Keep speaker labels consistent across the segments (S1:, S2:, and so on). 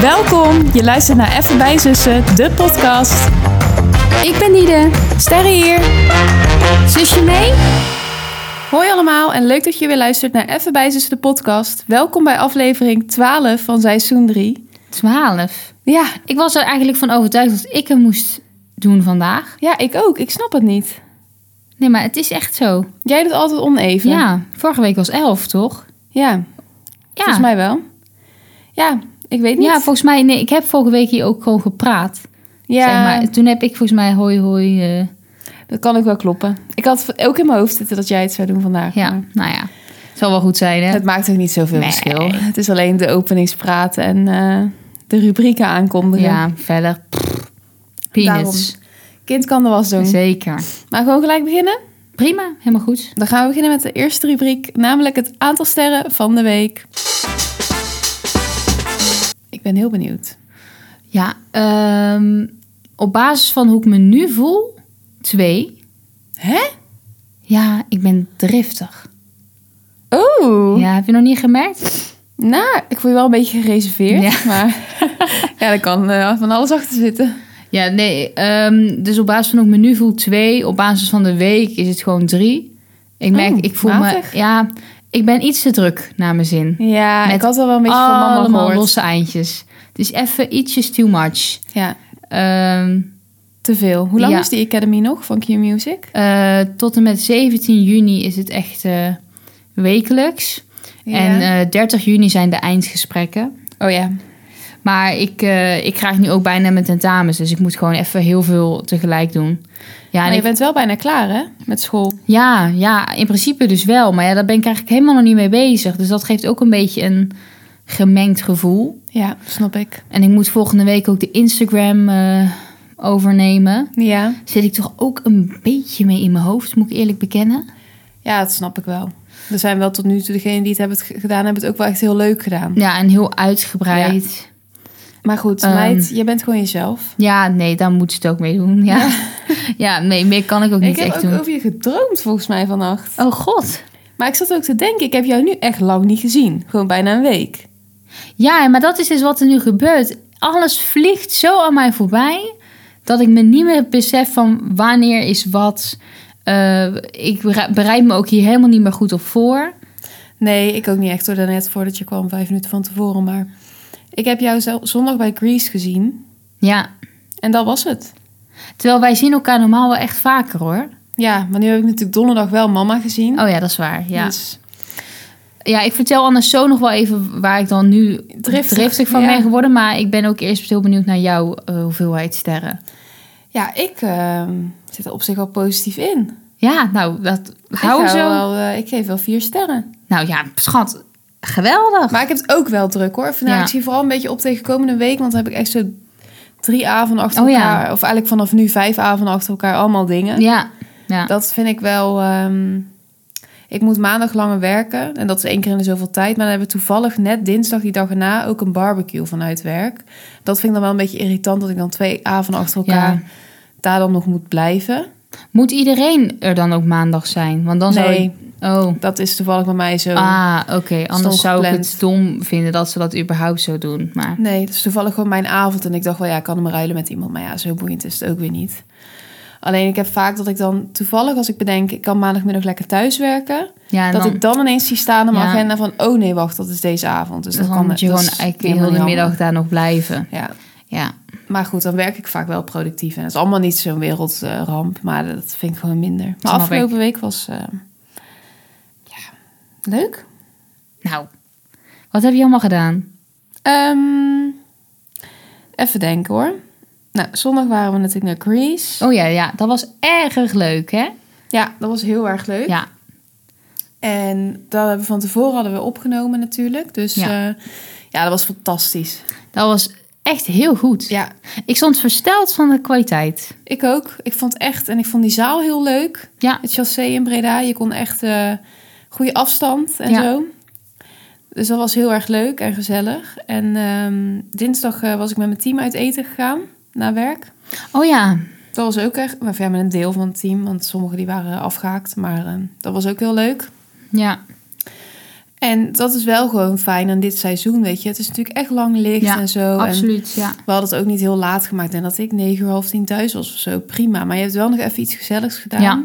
S1: Welkom, je luistert naar Even bij Zussen, de podcast.
S2: Ik ben Nide.
S1: Sterre hier.
S2: Zusje mee?
S1: Hoi allemaal en leuk dat je weer luistert naar Even bij Zussen, de podcast. Welkom bij aflevering 12 van seizoen 3.
S2: 12.
S1: Ja,
S2: Ik was er eigenlijk van overtuigd dat ik hem moest doen vandaag.
S1: ja, ik ook. Ik snap het niet.
S2: Nee, maar het is echt zo.
S1: Jij doet altijd oneven.
S2: Ja, vorige week was 11, toch?
S1: Ja,
S2: Ja.
S1: volgens mij wel. Ja, ik weet niet.
S2: Ja, volgens mij. Nee, ik heb vorige week hier ook gewoon gepraat.
S1: Ja,
S2: Zeg maar, toen heb ik volgens mij hoi hoi. eh,
S1: dat kan ook wel kloppen. Ik had ook in mijn hoofd zitten dat jij het zou doen vandaag.
S2: ja,
S1: maar
S2: nou ja. Zal wel goed zijn, hè?
S1: Het maakt ook niet zoveel
S2: Nee.
S1: verschil. Het is alleen de openingspraat en eh, de rubrieken aankondigen.
S2: Ja, verder. Pff, peanuts.
S1: Kind kan de was doen.
S2: Zeker.
S1: Maar gewoon gelijk beginnen.
S2: Prima, helemaal goed.
S1: Dan gaan we beginnen met de eerste rubriek, namelijk het aantal sterren van de week. Ik ben heel benieuwd.
S2: Ja, ehm, op basis van hoe ik me nu voel, twee.
S1: Hè?
S2: Ja, ik ben driftig.
S1: Oh,
S2: Ja, heb je nog niet gemerkt?
S1: nou, ik voel je wel een beetje gereserveerd, maar ja, daar kan eh, van alles achter zitten.
S2: Ja, nee. ehm, dus op basis van hoe ik me nu voel, twee. Op basis van de week is het gewoon drie. Ik
S1: Oh,
S2: merk, ik voel
S1: matig.
S2: me... Ja, ik ben iets te druk naar mijn zin.
S1: Ja,
S2: Met
S1: ik had al wel een beetje van mama
S2: Allemaal
S1: gehoord.
S2: losse eindjes. Dus even ietsjes too much.
S1: Ja,
S2: Ehm,
S1: te veel. Hoe lang
S2: Ja.
S1: is die Academy nog van Q Music?
S2: eh, tot en met 17 juni is het echt eh, wekelijks. En eh, 30 juni zijn de eindgesprekken.
S1: oh ja,
S2: Maar ik, eh ik krijg nu ook bijna mijn tentamens. Dus ik moet gewoon even heel veel tegelijk doen. Ja,
S1: maar
S2: en
S1: je
S2: ik
S1: bent wel bijna klaar hè, met school.
S2: Ja, ja, in principe dus wel. Maar ja, daar ben ik eigenlijk helemaal nog niet mee bezig. Dus dat geeft ook een beetje een gemengd gevoel.
S1: Ja, snap ik.
S2: En ik moet volgende week ook de Instagram eh, overnemen.
S1: Ja,
S2: Zit ik toch ook een beetje mee in mijn hoofd, moet ik eerlijk bekennen.
S1: ja dat snap ik wel. Er zijn wel tot nu toe degenen die het hebben g- gedaan, hebben het ook wel echt heel leuk gedaan.
S2: Ja, en heel uitgebreid.
S1: Maar goed,
S2: Ehm.
S1: meid, je bent gewoon jezelf.
S2: Ja, nee, daar moet ze het ook mee doen. Ja, ja nee, meer kan ik ook
S1: Ik
S2: niet
S1: heb
S2: echt
S1: ook
S2: doen.
S1: over je gedroomd volgens mij vannacht.
S2: Oh god.
S1: Maar ik zat ook te denken, ik heb jou nu echt lang niet gezien. Gewoon bijna een week.
S2: Ja, maar dat is dus wat er nu gebeurt. Alles vliegt zo aan mij voorbij dat ik me niet meer besef van wanneer is wat. Eh, ik bere- bereid me ook hier helemaal niet meer goed op voor.
S1: Nee, ik ook niet echt hoor, daarnet voordat je kwam, vijf minuten van tevoren. Maar ik heb jou zel- zondag bij Grease gezien.
S2: Ja,
S1: En dat was het.
S2: terwijl wij zien elkaar normaal wel echt vaker hoor.
S1: Ja, maar nu heb ik natuurlijk donderdag wel mama gezien.
S2: Oh ja, dat is waar. Ja,
S1: Dus
S2: ja ik vertel anders zo nog wel even waar ik dan nu
S1: Driftig,
S2: driftig, van
S1: ja.
S2: ben geworden. Maar ik ben ook eerst heel benieuwd naar jouw eh, hoeveelheid sterren.
S1: ja, ik ehm, zit er op zich al positief in.
S2: Ja, nou, dat
S1: ik,
S2: houden
S1: hou
S2: zo.
S1: wel, eh, ik geef wel vier sterren.
S2: Nou ja, schat, geweldig.
S1: Maar ik heb het ook wel druk hoor. Vandaag
S2: Ja.
S1: ik zie vooral een beetje op tegen komende week. Want dan heb ik echt zo drie avonden achter
S2: Oh, ja.
S1: elkaar. Of eigenlijk vanaf nu vijf avonden achter elkaar allemaal dingen.
S2: Ja, ja.
S1: Dat vind ik wel. ehm, ik moet maandag langer werken. En dat is één keer in de zoveel tijd. Maar dan hebben we toevallig net dinsdag die dag erna ook een barbecue vanuit werk. Dat vind ik dan wel een beetje irritant. Dat ik dan twee avonden achter elkaar
S2: Ja.
S1: daar dan nog moet blijven.
S2: Moet iedereen er dan ook maandag zijn? Want dan zou
S1: nee,
S2: ik... Oh,
S1: dat is toevallig bij mij zo.
S2: ah, oké. Anders zou ik
S1: gepland.
S2: het dom vinden dat ze dat überhaupt zo doen. Maar
S1: Nee, dat is toevallig gewoon mijn avond. En ik dacht wel, ja, ik kan hem ruilen met iemand. Maar ja, zo boeiend is het ook weer niet. Alleen ik heb vaak dat ik dan toevallig, als ik bedenk, ik kan maandagmiddag lekker thuiswerken.
S2: ja, en
S1: dat
S2: dan,
S1: ik dan ineens zie staan in mijn
S2: Ja.
S1: agenda van, oh nee, wacht, dat is deze avond. Dus dat
S2: dan
S1: kan
S2: moet je
S1: dat
S2: gewoon
S1: is
S2: eigenlijk heel
S1: helemaal
S2: de
S1: niet handig.
S2: middag daar nog blijven.
S1: Ja,
S2: Ja,
S1: maar goed, dan werk ik vaak wel productief. En dat is allemaal niet zo'n wereldramp, maar dat vind ik gewoon minder. Maar
S2: Snap ik.
S1: afgelopen week was, eh, ja, leuk.
S2: nou. Wat heb je allemaal gedaan?
S1: Ehm, even denken hoor. Nou, zondag waren we natuurlijk naar Greece.
S2: Oh ja, ja, dat was erg leuk, hè?
S1: Ja, dat was heel erg leuk.
S2: Ja,
S1: En dat hebben we van tevoren hadden we opgenomen natuurlijk. Dus ja,
S2: Ja.
S1: ja dat was fantastisch.
S2: dat was echt heel goed.
S1: Ja,
S2: Ik stond versteld van de kwaliteit.
S1: ik ook. Ik vond echt, en ik vond die zaal heel leuk.
S2: Ja.
S1: Het chassé in Breda, je kon echt eh goede afstand en
S2: Ja.
S1: zo. Dus dat was heel erg leuk en gezellig. En ehm, dinsdag eh, was ik met mijn team uit eten gegaan, na werk.
S2: Oh ja,
S1: Dat was ook echt, maar ja, met een deel van het team, want sommigen die waren afgehaakt. Maar ehm, dat was ook heel leuk.
S2: ja.
S1: En dat is wel gewoon fijn aan dit seizoen, weet je. Het is natuurlijk echt lang licht
S2: Ja,
S1: en zo. Oh, En
S2: Absoluut, ja.
S1: we hadden het ook niet heel laat gemaakt. En dat ik negen uur, half tien thuis was of zo, prima. Maar je hebt wel nog even iets gezelligs gedaan.
S2: Ja.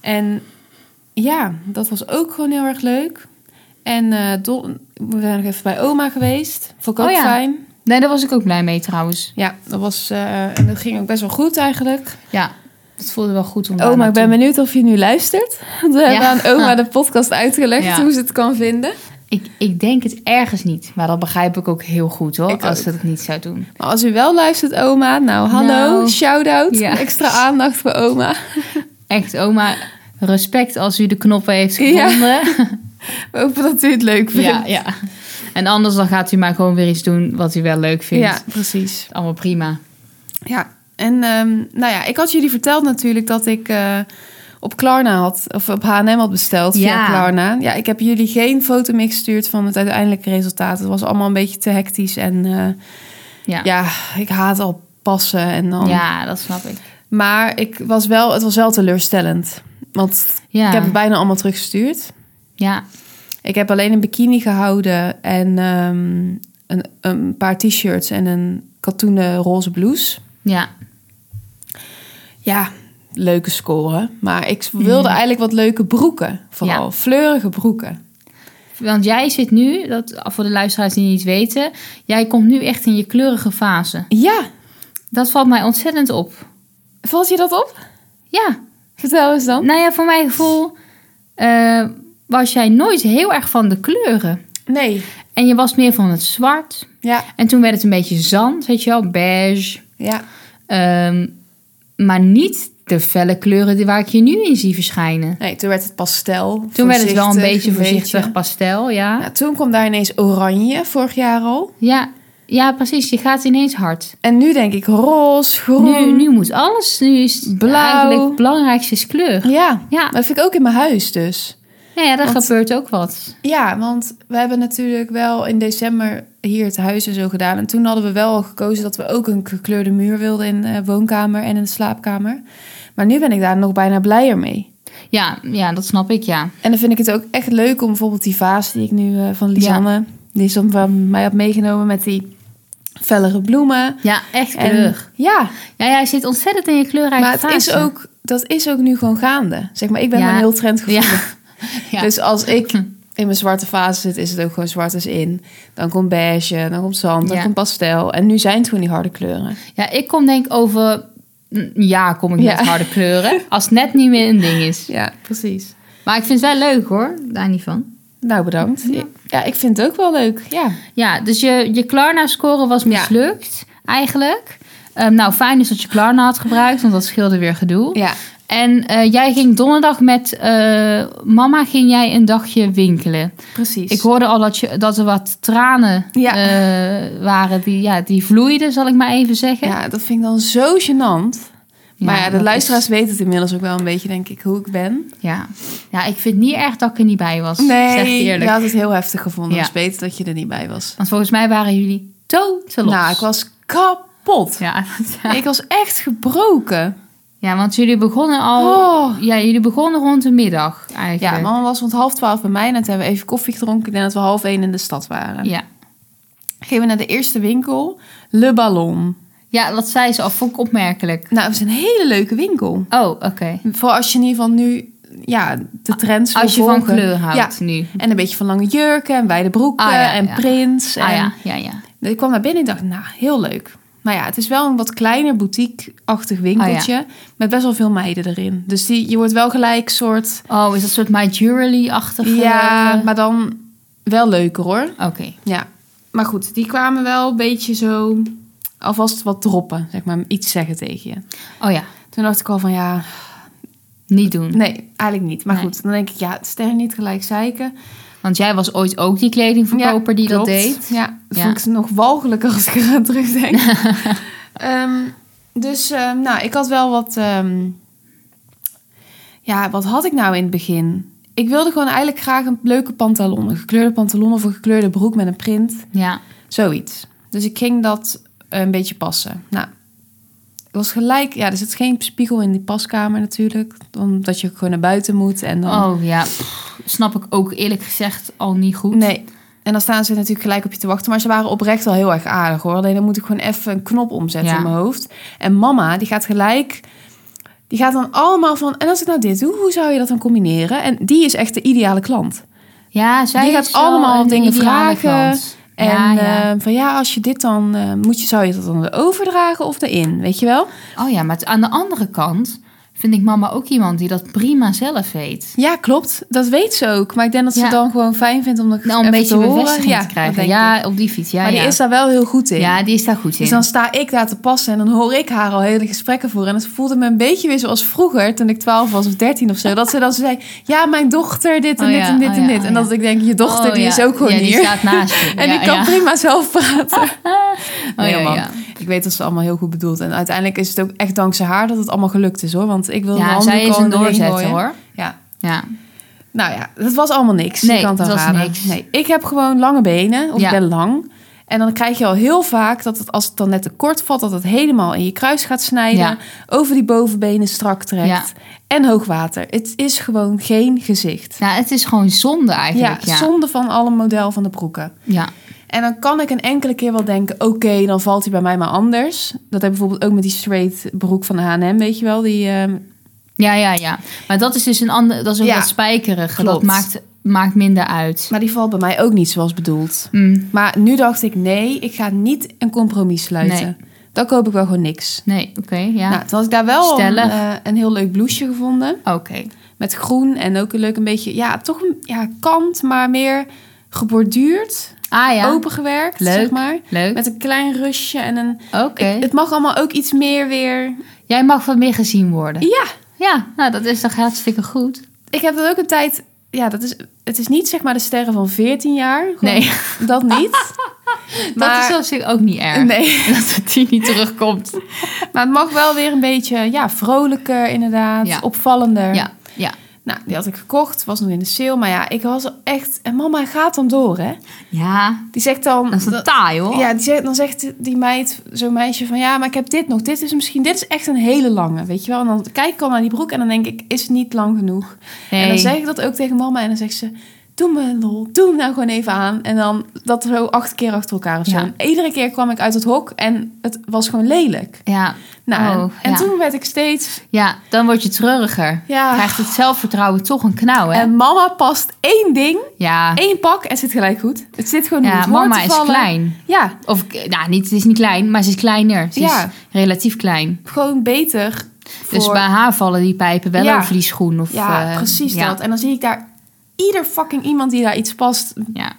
S1: En ja, dat was ook gewoon heel erg leuk. En eh, don- we zijn nog even bij oma geweest. Vond ik ook
S2: Oh ja.
S1: fijn.
S2: Nee, daar was ik ook blij mee trouwens.
S1: Ja, dat, was, eh, en dat ging ook best wel goed eigenlijk.
S2: Ja, het voelde wel goed om daar
S1: Oma, Oh, ik ben
S2: naartoe-
S1: benieuwd of je nu luistert. Want We hebben aan oma de podcast uitgelegd
S2: Ja.
S1: hoe ze het kan vinden.
S2: ik, ik denk het ergens niet, maar dat begrijp ik ook heel goed hoor,
S1: Ik
S2: als
S1: ook.
S2: ze het niet zou doen.
S1: Maar als u wel luistert, oma, nou hallo,
S2: Nou.
S1: shout-out.
S2: Ja.
S1: Extra aandacht voor oma.
S2: Echt, oma, respect als u de knoppen heeft
S1: Ja.
S2: gevonden.
S1: We hopen dat u het leuk vindt.
S2: Ja, ja. En anders dan gaat u maar gewoon weer iets doen wat u wel leuk vindt.
S1: Ja, precies.
S2: Allemaal prima.
S1: Ja, en ehm, nou ja, ik had jullie verteld natuurlijk dat ik eh, op Klarna had, of op H&M had besteld via
S2: Ja.
S1: Klarna. Ja, ik heb jullie geen foto meer gestuurd van het uiteindelijke resultaat. Het was allemaal een beetje te hectisch en eh,
S2: Ja. Ja.
S1: ja, ik haat al passen en dan.
S2: dat snap ik.
S1: Maar ik was wel, het was wel teleurstellend, want
S2: Ja.
S1: ik heb het bijna allemaal teruggestuurd.
S2: ja.
S1: Ik heb alleen een bikini gehouden en ehm, een, een paar t-shirts en een katoenen roze blouse.
S2: Ja.
S1: Ja, leuke score. Maar ik wilde eigenlijk wat leuke broeken. Vooral
S2: Mm. Ja.
S1: fleurige broeken.
S2: Want jij zit nu, dat voor de luisteraars die niet weten, jij komt nu echt in je kleurige fase.
S1: Ja,
S2: Dat valt mij ontzettend op.
S1: valt je dat op?
S2: Ja.
S1: Vertel eens dan.
S2: Nou ja, voor mijn gevoel eh, was jij nooit heel erg van de kleuren.
S1: Nee.
S2: En je was meer van het zwart.
S1: Ja,
S2: En toen werd het een beetje zand, weet je wel, beige.
S1: ja.
S2: Ehm, maar niet de felle kleuren die waar ik je nu in zie verschijnen.
S1: Nee, toen werd het pastel.
S2: Toen werd het wel een beetje voorzichtig
S1: voorzichtig.
S2: pastel, ja.
S1: Ja, toen kwam daar ineens oranje, vorig jaar al.
S2: Ja, ja, precies. Je gaat ineens hard.
S1: En nu denk ik roze, groen.
S2: Nu, nu moet alles. Nu is het
S1: Blauw.
S2: eigenlijk het belangrijkste is kleur.
S1: Ja,
S2: Ja,
S1: maar dat vind ik ook in mijn huis dus.
S2: nou ja daar
S1: Want-
S2: gebeurt ook wat.
S1: Ja, want we hebben natuurlijk wel in december hier het huis en zo gedaan. En toen hadden we wel al gekozen dat we ook een gekleurde muur wilden in de woonkamer en in de slaapkamer. Maar nu ben ik daar nog bijna blijer mee.
S2: Ja, ja, dat snap ik, ja.
S1: En dan vind ik het ook echt leuk om bijvoorbeeld die vaas die ik nu eh, van Lisanne, die is om- van mij had meegenomen met die fellere bloemen.
S2: Ja, echt
S1: En-
S2: kleur.
S1: ja,
S2: Ja, jij zit ontzettend in je kleurrijke
S1: maar het is
S2: fase.
S1: ook, dat is ook nu gewoon gaande. Zeg maar, ik ben
S2: Ja.
S1: maar een heel trend
S2: Ja. Ja. Hm.
S1: Dus als ik in mijn zwarte fase zit, is het ook gewoon zwart als in. Dan komt beige, dan komt zand, dan
S2: Ja.
S1: komt pastel. En nu zijn het gewoon die harde kleuren.
S2: ja, ik kom denk over... een jaar kom ik
S1: Ja.
S2: met harde kleuren. Als het net niet meer een ding is.
S1: Ja, precies.
S2: Maar ik vind het wel leuk hoor, daar niet van.
S1: Nou, bedankt. Ja,
S2: Ja.
S1: ik vind het ook wel leuk. Ja,
S2: Ja, dus je, je Klarna-score was
S1: Ja.
S2: mislukt eigenlijk. Ehm, nou, fijn is dat je Klarna had gebruikt, want dat scheelde weer gedoe.
S1: ja.
S2: En eh, jij ging donderdag met eh, mama ging jij een dagje winkelen.
S1: precies.
S2: Ik hoorde al dat, je, dat er wat tranen
S1: Ja.
S2: eh, waren die, ja, die vloeiden, zal ik maar even zeggen.
S1: ja, dat vind ik dan zo gênant. Maar ja, de
S2: dat
S1: luisteraars
S2: is-
S1: weten het inmiddels ook wel een beetje, denk ik, hoe ik ben.
S2: ja. ja, ik vind het niet erg dat ik er niet bij was. zeg ik
S1: je
S2: eerlijk.
S1: had het heel heftig gevonden.
S2: Ja.
S1: Dus beter dat je er niet bij was.
S2: Want volgens mij waren jullie te los.
S1: Nou, ik was kapot.
S2: ja,
S1: Ik was echt gebroken.
S2: ja, want jullie begonnen al.
S1: Oh.
S2: Ja, jullie begonnen rond de middag eigenlijk.
S1: Ja, mama was rond half twaalf bij mij. En toen hebben we even koffie gedronken. Ik denk dat we half één in de stad waren.
S2: Ja.
S1: Gingen we naar de eerste winkel. Le Ballon.
S2: ja, dat zei ze al. Vond ik opmerkelijk.
S1: Nou, het is een hele leuke winkel.
S2: Oh, oké.
S1: Voor als je in ieder geval nu ja, de trends wil
S2: Als je van
S1: volgen.
S2: kleur houdt nu.
S1: En een beetje van lange jurken en wijde broeken
S2: Ah, ja,
S1: en
S2: ja.
S1: prints. En
S2: Ah ja, ja, ja.
S1: Ik kwam naar binnen en dacht, nou, heel leuk. Maar ja, het is wel een wat kleiner boutique-achtig winkeltje.
S2: Ah,
S1: Met best wel veel meiden erin. Dus die, je wordt wel gelijk soort...
S2: Oh, is dat soort My Jewelry-achtige...
S1: Ja, maar dan wel leuker hoor.
S2: Oké.
S1: Ja, maar goed, die kwamen wel een beetje zo alvast wat droppen, zeg maar, iets zeggen tegen je.
S2: Oh ja,
S1: Toen dacht ik al van ja,
S2: niet doen.
S1: nee, eigenlijk niet. Maar
S2: Nee.
S1: goed, dan denk ik ja, het sterren niet gelijk zeiken.
S2: Want jij was ooit ook die kledingverkoper die dat
S1: klopt.
S2: deed.
S1: Ja, dat
S2: Ja.
S1: vond ik ze nog walgelijker als ik eraan terugdenk. Ehm, dus ehm, nou, ik had wel wat, ehm, ja, wat had ik nou in het begin? Ik wilde gewoon eigenlijk graag een leuke pantalon, een gekleurde pantalon of een gekleurde broek met een print.
S2: Ja.
S1: Zoiets. Dus ik ging dat een beetje passen. Nou, Het was gelijk, ja, er zit geen spiegel in die paskamer natuurlijk. Omdat je gewoon naar buiten moet. En dan,
S2: Oh ja, pff, snap ik ook eerlijk gezegd al niet goed.
S1: Nee. En dan staan ze natuurlijk gelijk op je te wachten. Maar ze waren oprecht al heel erg aardig hoor. Alleen dan moet ik gewoon even een knop omzetten
S2: Ja.
S1: in mijn hoofd. En mama, die gaat gelijk. Die gaat dan allemaal van. En als ik nou dit doe, hoe zou je dat dan combineren? En die is echt de ideale klant.
S2: Ja, zij
S1: Die gaat
S2: is wel
S1: allemaal
S2: een
S1: dingen
S2: ideale
S1: vragen.
S2: klant.
S1: En
S2: ja, ja.
S1: eh, van ja, als je dit dan. eh, moet je, zou je dat dan overdragen of erin? Weet je wel?
S2: Oh ja, maar t- aan de andere kant vind ik mama ook iemand die dat prima zelf weet.
S1: Ja, klopt. Dat weet ze ook. Maar ik denk dat ze
S2: Ja.
S1: dan gewoon fijn vindt om dat
S2: Nou, een
S1: even
S2: beetje
S1: te horen.
S2: bevestiging
S1: Ja,
S2: te
S1: dat
S2: krijgen.
S1: denk
S2: Ja,
S1: ik.
S2: op die fiets. Ja,
S1: maar
S2: ja.
S1: die is daar wel heel goed in.
S2: ja, die is daar goed in.
S1: Dus dan sta ik daar te passen en dan hoor ik haar al hele gesprekken voeren. En het voelde me een beetje weer zoals vroeger, toen ik 12 was of 13 of zo. Dat ze dan zei, ja, mijn dochter, dit en
S2: Oh
S1: dit
S2: ja,
S1: en dit
S2: oh
S1: en
S2: ja,
S1: dit.
S2: oh
S1: en dat
S2: ja.
S1: ik denk, je dochter,
S2: Oh,
S1: die
S2: ja.
S1: is ook gewoon
S2: ja,
S1: hier.
S2: Die staat naast je.
S1: en
S2: ja,
S1: die kan
S2: ja.
S1: prima zelf praten.
S2: Oh,
S1: Nee,
S2: ja,
S1: man.
S2: ja.
S1: Ik weet dat ze allemaal heel goed bedoelt. En uiteindelijk is het ook echt dankzij haar dat het allemaal gelukt is, hoor. Want ik wilde de
S2: ja
S1: handen
S2: zij is
S1: gewoon
S2: een
S1: doorheen
S2: doorzetter
S1: gooien.
S2: hoor.
S1: Ja.
S2: Ja.
S1: Nou ja, dat was allemaal niks.
S2: Nee,
S1: je kan het
S2: dat
S1: al
S2: was
S1: raden.
S2: niks.
S1: Nee, ik heb gewoon lange benen, of
S2: Ja.
S1: ik ben lang. En dan krijg je al heel vaak dat het, als het dan net te kort valt, dat het helemaal in je kruis gaat snijden.
S2: Ja.
S1: Over die bovenbenen strak trekt.
S2: Ja.
S1: En hoogwater. Het is gewoon geen gezicht.
S2: Nou, het is gewoon zonde
S1: Ja,
S2: eigenlijk. Ja,
S1: zonde van alle model van de broeken.
S2: ja.
S1: En dan kan ik een enkele keer wel denken: oké, dan valt hij bij mij maar anders. Dat heb ik bijvoorbeeld ook met die straight broek van de HM, weet je wel. Die, ehm,
S2: Ja, ja, ja. Maar dat is dus een ander, dat is ook
S1: Ja,
S2: wat spijkerige.
S1: klopt.
S2: Dat maakt, maakt minder uit.
S1: maar die valt bij mij ook niet zoals bedoeld.
S2: Mm,
S1: Maar nu dacht ik, nee, ik ga niet een compromis sluiten.
S2: Nee.
S1: Dan koop ik wel gewoon niks.
S2: nee, oké, ja.
S1: Nou, toen had ik daar wel een,
S2: Stellig.
S1: eh, een heel leuk blouseje gevonden.
S2: oké.
S1: Met groen en ook een leuk een beetje, ja, toch een ja, kant, maar meer geborduurd.
S2: Ah ja,
S1: Opengewerkt,
S2: Leuk.
S1: zeg maar.
S2: leuk.
S1: Met een klein rustje en een...
S2: Oké.
S1: Ik- het mag allemaal ook iets meer weer...
S2: Jij mag wat meer gezien worden.
S1: Ja,
S2: Ja, nou, dat is toch hartstikke goed.
S1: ik heb dat ook een tijd... Ja, dat is, het is niet zeg maar de sterren van 14 jaar. Gewoon,
S2: Nee,
S1: Dat niet.
S2: dat is op zich ook niet erg.
S1: Nee.
S2: Dat het die niet terugkomt.
S1: Maar het mag wel weer een beetje ja, vrolijker, inderdaad.
S2: Ja.
S1: Opvallender.
S2: Ja, ja.
S1: Nou, die had ik gekocht. Was nog in de sale. Maar ja, ik was echt... En mama gaat dan door, hè?
S2: Ja,
S1: Die zegt dan...
S2: dat is een
S1: dat-
S2: taai hoor.
S1: ja, die zegt, dan zegt die meid, zo'n meisje van... Ja, maar ik heb dit nog. Dit is misschien... Dit is echt een hele lange, weet je wel? En dan kijk ik al naar die broek en dan denk ik... Is het niet lang genoeg?
S2: Nee.
S1: En dan zeg ik dat ook tegen mama. En dan zegt ze... Doe me een lol. Doe hem nou gewoon even aan. En dan dat zo acht keer achter elkaar of zo.
S2: Ja.
S1: En iedere keer kwam ik uit het hok en het was gewoon lelijk.
S2: ja,
S1: Nou, en-
S2: Oh,
S1: en
S2: ja.
S1: toen werd ik steeds...
S2: ja, dan word je treuriger.
S1: Ja.
S2: Krijgt het zelfvertrouwen toch een knauw, hè?
S1: En mama past één ding,
S2: ja,
S1: één pak en zit gelijk goed. Het zit gewoon
S2: ja
S1: niet hoort
S2: mama
S1: te
S2: is
S1: vallen.
S2: klein.
S1: Ja,
S2: Of, eh, nou, niet, het is niet klein, maar ze is kleiner. Ze
S1: Ja.
S2: is relatief klein.
S1: gewoon beter. Voor...
S2: Dus bij haar vallen die pijpen wel
S1: Ja.
S2: over die schoen. Of,
S1: Ja,
S2: eh,
S1: precies
S2: ja,
S1: dat. En dan zie ik daar ieder fucking iemand die daar iets past,
S2: Ja,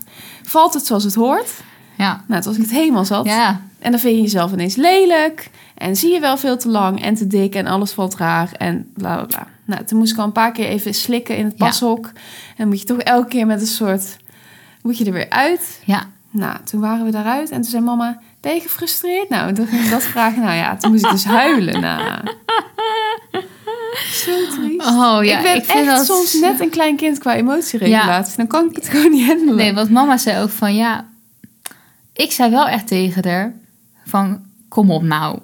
S1: valt het zoals het hoort.
S2: ja.
S1: Nou, toen was ik het helemaal zat.
S2: ja.
S1: En dan vind je jezelf ineens lelijk. En zie je wel veel te lang en te dik en alles valt raar en bla bla bla. Nou, toen moest ik al een paar keer even slikken in het
S2: Ja.
S1: pashok. En dan moet je toch elke keer met een soort... Moet je er weer uit.
S2: ja.
S1: Nou, toen waren we daaruit en toen zei mama, ben je gefrustreerd? Nou, toen ging ik dat vragen. Nou ja, toen moest ik dus huilen. Nou. Zo triest.
S2: Oh ja,
S1: ik ben
S2: vind
S1: echt
S2: dat...
S1: soms net een klein kind qua emotieregulatie. Dan kan ik het gewoon niet handelen.
S2: Nee, want mama zei ook van ja. Ik zei wel echt tegen haar van kom op nou.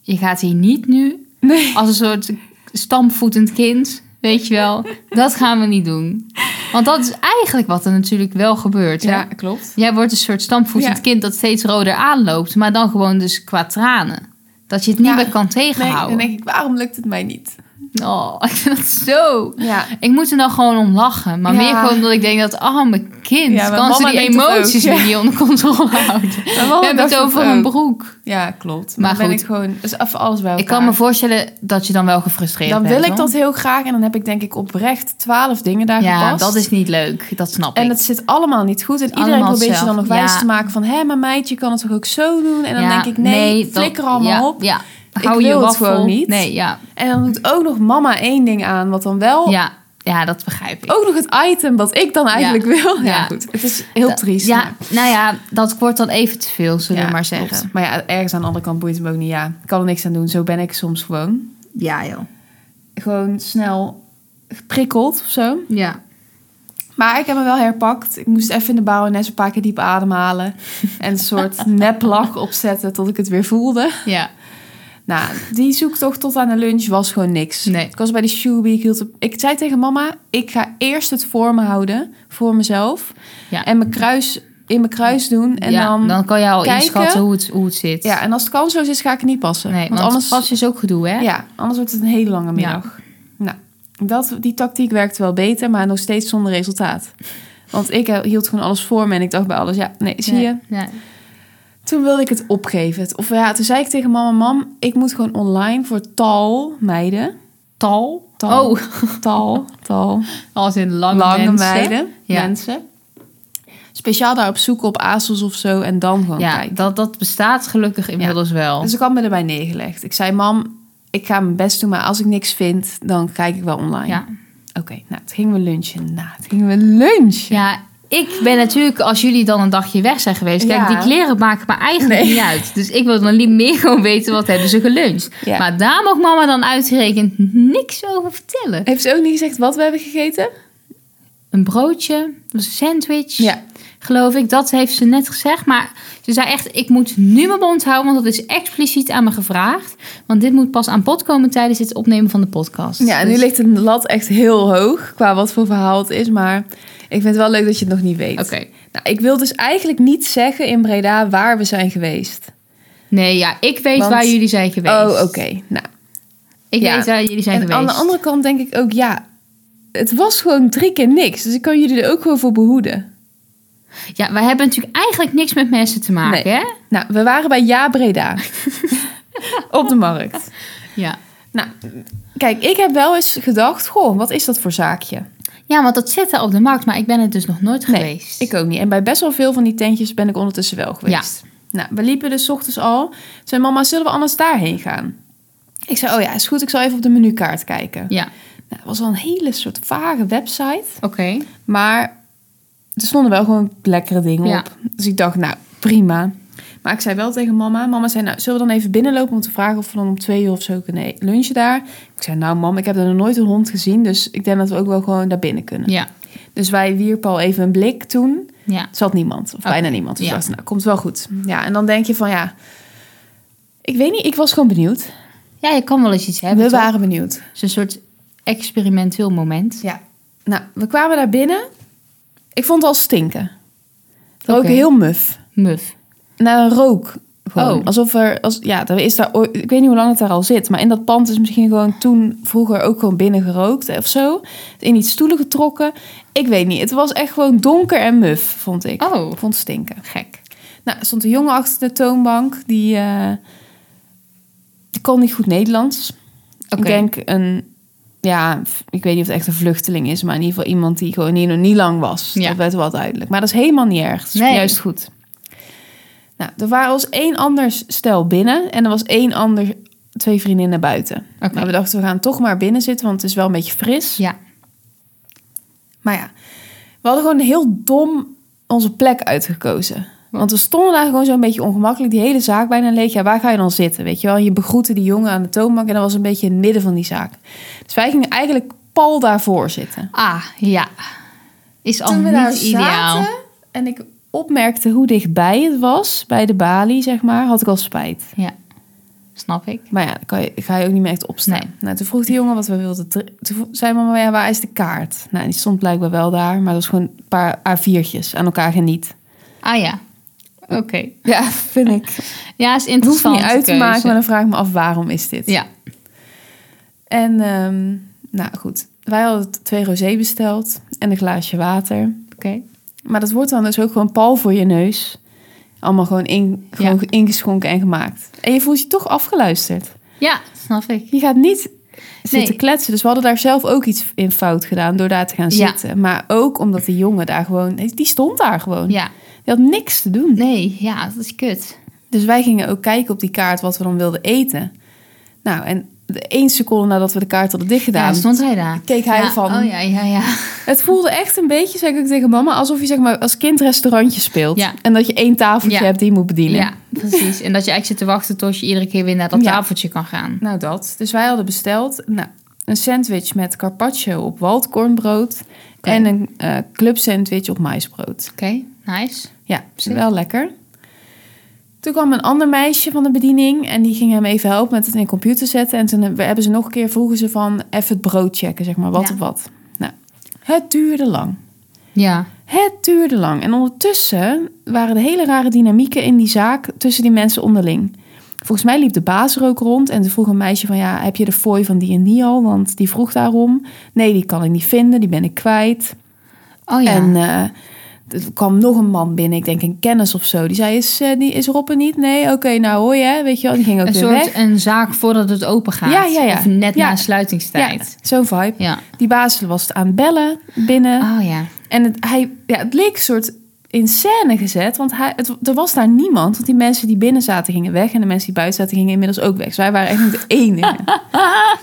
S2: Je gaat hier niet nu
S1: Nee.
S2: als een soort stampvoetend kind, weet je wel. Dat gaan we niet doen. Want dat is eigenlijk wat er natuurlijk wel gebeurt. Hè?
S1: Ja, klopt.
S2: Jij wordt een soort stampvoetend
S1: Ja.
S2: kind dat steeds roder aanloopt, maar dan gewoon dus qua tranen. Dat je het niet
S1: Ja.
S2: meer kan
S1: Nee, dan
S2: tegenhouden.
S1: denk ik, waarom lukt het mij niet?
S2: Oh, ik vind dat zo.
S1: Ja.
S2: Ik moet er dan gewoon om lachen. Maar
S1: Ja.
S2: meer gewoon omdat ik denk dat, ah, mijn kind
S1: Ja, maar
S2: kan ze
S1: mama
S2: die
S1: denkt dat
S2: emoties
S1: ook, Oh,
S2: weer niet onder controle houden. We hebben het over een broek.
S1: eh, Ja, klopt. Maar, dan
S2: Maar
S1: ben
S2: goed.
S1: ik gewoon, dus even alles bij elkaar.
S2: Ik kan me voorstellen dat je dan wel gefrustreerd
S1: dan
S2: bent.
S1: wil ik
S2: hoor.
S1: dat heel graag en dan heb ik denk ik oprecht twaalf dingen daar
S2: Ja,
S1: gepast.
S2: dat is niet leuk. Dat snap
S1: En
S2: ik.
S1: het zit allemaal niet goed. En iedereen
S2: Allemaal
S1: probeert je dan nog
S2: hetzelfde.
S1: wijs
S2: Ja.
S1: te maken van... hé, maar meid, je kan het toch ook zo doen? En dan
S2: Ja,
S1: denk ik, nee,
S2: dat-
S1: flikker allemaal
S2: ja,
S1: op.
S2: Ja,
S1: Ik
S2: hou je
S1: wil het
S2: waffel.
S1: gewoon niet.
S2: Nee, ja.
S1: En dan doet ook nog mama één ding aan, wat dan wel...
S2: Ja, ja, dat begrijp ik.
S1: Ook nog het item wat ik dan eigenlijk wil. Ja,
S2: Ja.
S1: goed. Het is heel
S2: Dat-
S1: triest.
S2: Ja,
S1: maar-
S2: nou ja, dat wordt dan even te veel, zullen
S1: Ja,
S2: we maar zeggen.
S1: klopt. Maar ja, ergens aan de andere kant boeit het me ook niet. Ja, ik kan er niks aan doen. Zo ben ik soms gewoon.
S2: Ja, joh.
S1: Gewoon snel geprikkeld of zo.
S2: Ja.
S1: Maar ik heb me wel herpakt. Ik moest even in de barones een paar keer diep ademhalen. En een soort neplach opzetten tot ik het weer voelde.
S2: Ja.
S1: Nou, die zoektocht tot aan de lunch was gewoon niks.
S2: Nee.
S1: Ik was bij de shoebie. Ik, hield op- ik zei tegen mama, ik ga eerst het voor me houden. Voor mezelf.
S2: Ja.
S1: En mijn kruis in mijn kruis doen. En
S2: ja,
S1: dan,
S2: dan, kan je al
S1: kijken.
S2: inschatten hoe het, hoe het zit.
S1: ja, en als het kansloos is, ga ik het niet passen.
S2: nee, want,
S1: anders,
S2: pas is ook gedoe, hè?
S1: ja, anders wordt het een hele lange middag. Nou, dat, die tactiek werkte wel beter, maar nog steeds zonder resultaat. Want ik eh, hield gewoon alles voor me en ik dacht bij alles, ja, nee, zie je,
S2: Ja.
S1: toen wilde ik het opgeven. Het- Of ja, toen zei ik tegen mama, mam, ik moet gewoon online voor tal meiden.
S2: Tal?
S1: Tal.
S2: Oh,
S1: Tal, tal.
S2: als in lange,
S1: Lange
S2: mensen.
S1: meiden,
S2: Ja.
S1: mensen. Speciaal daarop zoeken op ASOS of zo en dan gewoon
S2: Ja,
S1: kijken.
S2: dat, dat bestaat gelukkig inmiddels wel.
S1: Dus ik had me erbij neergelegd. Ik zei, mam, ik ga mijn best doen, maar als ik niks vind, dan kijk ik wel online.
S2: Ja.
S1: Oké, nou, toen gingen we lunchen. Nou, toen gingen we lunchen.
S2: Ja, ik ben natuurlijk, als jullie dan een dagje weg zijn geweest... Kijk,
S1: Ja.
S2: die kleren maken me eigenlijk
S1: Nee.
S2: niet uit. Dus ik wil dan niet meer gewoon weten wat hebben ze geluncht.
S1: Ja.
S2: Maar daar mag mama dan uitgerekend niks over vertellen.
S1: Heeft ze ook niet gezegd wat we hebben gegeten?
S2: Een broodje, een sandwich,
S1: Ja.
S2: geloof ik. Dat heeft ze net gezegd. Maar ze zei echt, ik moet nu mijn mond houden... want dat is expliciet aan me gevraagd. Want dit moet pas aan bod komen tijdens het opnemen van de podcast.
S1: Ja, en nu
S2: Dus-
S1: ligt het lat echt heel hoog qua wat voor verhaal het is. Maar ik vind het wel leuk dat je het nog niet weet.
S2: Oké.
S1: Nou, ik wil dus eigenlijk niet zeggen in Breda waar we zijn geweest.
S2: Nee, ja, ik weet
S1: Want-
S2: waar jullie zijn geweest.
S1: Oh, oké. Nou,
S2: Ik
S1: Ja.
S2: weet waar jullie zijn
S1: en
S2: geweest.
S1: aan de andere kant denk ik ook, ja, het was gewoon drie keer niks. Dus ik kan jullie er ook gewoon voor behoeden.
S2: Ja, wij hebben natuurlijk eigenlijk niks met mensen te maken,
S1: Nee.
S2: hè?
S1: Nou, we waren bij Ja Breda op de markt.
S2: Ja.
S1: Nou, kijk, ik heb wel eens gedacht, goh, wat is dat voor zaakje?
S2: Ja, want dat zit daar op de markt, maar ik ben het dus nog nooit geweest.
S1: Ik ook niet. En bij best wel veel van die tentjes ben ik ondertussen wel geweest. Nou, we liepen dus 's ochtends al. Toen Zei mama, zullen we anders daarheen gaan? Ik zei, oh ja, is goed. Ik zal even op de menukaart kijken.
S2: Ja,
S1: Nou, het was wel een hele soort vage website.
S2: oké.
S1: Maar er stonden wel gewoon lekkere dingen
S2: Ja.
S1: op. Dus ik dacht, nou, prima. Maar ik zei wel tegen mama. Mama zei, nou, zullen we dan even binnenlopen om te vragen of we dan om twee uur of zo kunnen e-, lunchen daar? Ik zei, nou mam, ik heb er nog nooit een hond gezien. Dus ik denk dat we ook wel gewoon daar binnen kunnen.
S2: Ja,
S1: Dus wij wierpen al even een blik toen.
S2: ja.
S1: Er zat niemand, of
S2: Oké,
S1: bijna niemand. Dus
S2: ja.
S1: ik dacht, nou, komt wel goed. Ja, en dan denk je van, ja... Ik weet niet, ik was gewoon benieuwd.
S2: Ja, je kan wel eens iets hebben,
S1: we
S2: toch?
S1: waren benieuwd.
S2: Het is een soort experimenteel moment.
S1: Ja. Nou, we kwamen daar binnen. Ik vond het al stinken.
S2: Oké.
S1: Ook heel muf.
S2: Muf.
S1: Naar een rook. Gewoon.
S2: Oh.
S1: Alsof er... Als, ja, er is daar, ooit- ik weet niet hoe lang het daar al zit. Maar in dat pand is misschien gewoon toen vroeger ook gewoon binnen gerookt eh, of zo. In iets stoelen getrokken. Ik weet niet. Het was echt gewoon donker en muf, vond ik.
S2: Oh,
S1: Ik vond het stinken.
S2: gek.
S1: Nou, er stond een jongen achter de toonbank. Die, eh, die kon niet goed Nederlands.
S2: Oké.
S1: Ik denk een... Ja, f- ik weet niet of het echt een vluchteling is. Maar in ieder geval iemand die gewoon niet, nog niet lang was.
S2: Ja.
S1: Dat werd wel duidelijk. Maar dat is helemaal niet erg. Dat is
S2: Nee.
S1: juist goed. Nou, er waren als één ander stel binnen. En er was één ander... Twee vriendinnen buiten.
S2: Oké.
S1: Maar we dachten, we gaan toch maar binnen zitten. Want het is wel een beetje fris.
S2: Ja,
S1: Maar ja, we hadden gewoon heel dom onze plek uitgekozen. Want we stonden daar gewoon zo'n beetje ongemakkelijk. Die hele zaak bijna leeg. Ja, waar ga je dan zitten? Weet je wel? En je begroette die jongen aan de toonbank. En dat was een beetje in het midden van die zaak. Dus wij gingen eigenlijk pal daarvoor zitten.
S2: ah, ja. Is al
S1: Toen we daar
S2: niet ideaal.
S1: zaten en ik opmerkte hoe dichtbij het was, bij de balie zeg maar, had ik al spijt.
S2: Ja, snap ik.
S1: Maar ja, dan kan je, ga je ook niet meer echt opstaan.
S2: Nee.
S1: Nou, toen vroeg die jongen wat we wilden. dri- Toen vro- zei mama, ja, waar is de kaart? Nou, die stond blijkbaar wel daar. Maar dat was gewoon een paar A4'tjes aan elkaar geniet.
S2: Ah ja, oké.
S1: Ja, vind ik.
S2: Ja,
S1: Het hoeft
S2: is interessant.
S1: niet uit te maken, maar dan vraag ik me af waarom is dit.
S2: Ja,
S1: En ehm, nou goed, wij hadden t- twee rosé besteld en een glaasje water.
S2: oké.
S1: Maar dat wordt dan dus ook gewoon pal voor je neus. Allemaal gewoon, in, gewoon ingeschonken en gemaakt. En je voelt je toch afgeluisterd.
S2: Ja, snap ik.
S1: Je gaat niet zitten
S2: Nee.
S1: kletsen. Dus we hadden daar zelf ook iets in fout gedaan door daar te gaan
S2: Ja.
S1: zitten. Maar ook omdat die jongen daar gewoon... Die stond daar gewoon.
S2: Ja,
S1: Die had niks te doen.
S2: nee, ja, dat is kut.
S1: Dus wij gingen ook kijken op die kaart wat we dan wilden eten. Nou, en de één seconde nadat we de kaart hadden
S2: Ja,
S1: dichtgedaan...
S2: stond hij daar.
S1: keek hij
S2: ja.
S1: van...
S2: Oh ja, ja, ja.
S1: Het voelde echt een beetje, zeg ik tegen mama... alsof je zeg maar, als kind restaurantje speelt.
S2: Ja.
S1: En dat je één tafeltje
S2: Ja.
S1: hebt die je moet bedienen.
S2: Ja, precies. En dat je eigenlijk zit te wachten tot je iedere keer weer naar dat
S1: Ja.
S2: tafeltje kan gaan.
S1: Nou, dat. Dus wij hadden besteld nou, een sandwich met carpaccio op waldkornbrood...
S2: Oké.
S1: en een eh club sandwich op maisbrood.
S2: Oké, nice.
S1: Ja,
S2: Zeker.
S1: wel lekker. Toen kwam een ander meisje van de bediening en die ging hem even helpen met het in de computer zetten. En toen hebben hebben ze nog een keer vroegen ze van even het brood checken, zeg maar, wat
S2: Ja.
S1: op wat. Nou, het duurde lang.
S2: Ja.
S1: Het duurde lang. En ondertussen waren er hele rare dynamieken in die zaak tussen die mensen onderling. Volgens mij liep de baas er ook rond en ze vroeg een meisje van... ja, heb je de fooi van die en die al? Want die vroeg daarom. Nee, die kan ik niet vinden, die ben ik kwijt.
S2: Oh ja.
S1: En eh, er kwam nog een man binnen, ik denk een kennis of zo. Die zei, is, eh, die, is Rob er niet? Nee, oké, nou hoor je, weet je wel. Die ging ook
S2: een
S1: weer
S2: soort
S1: weg.
S2: een zaak voordat het open gaat.
S1: Ja, ja, ja.
S2: Of net
S1: Ja.
S2: na sluitingstijd.
S1: Ja, zo'n vibe.
S2: Ja.
S1: Die baas was het aan het bellen binnen.
S2: Oh ja.
S1: En het, hij, ja, het leek een soort in scène gezet, want hij, het, er was daar niemand. Want die mensen die binnen zaten gingen weg en de mensen die buiten zaten gingen inmiddels ook weg. Dus wij waren echt niet de enige.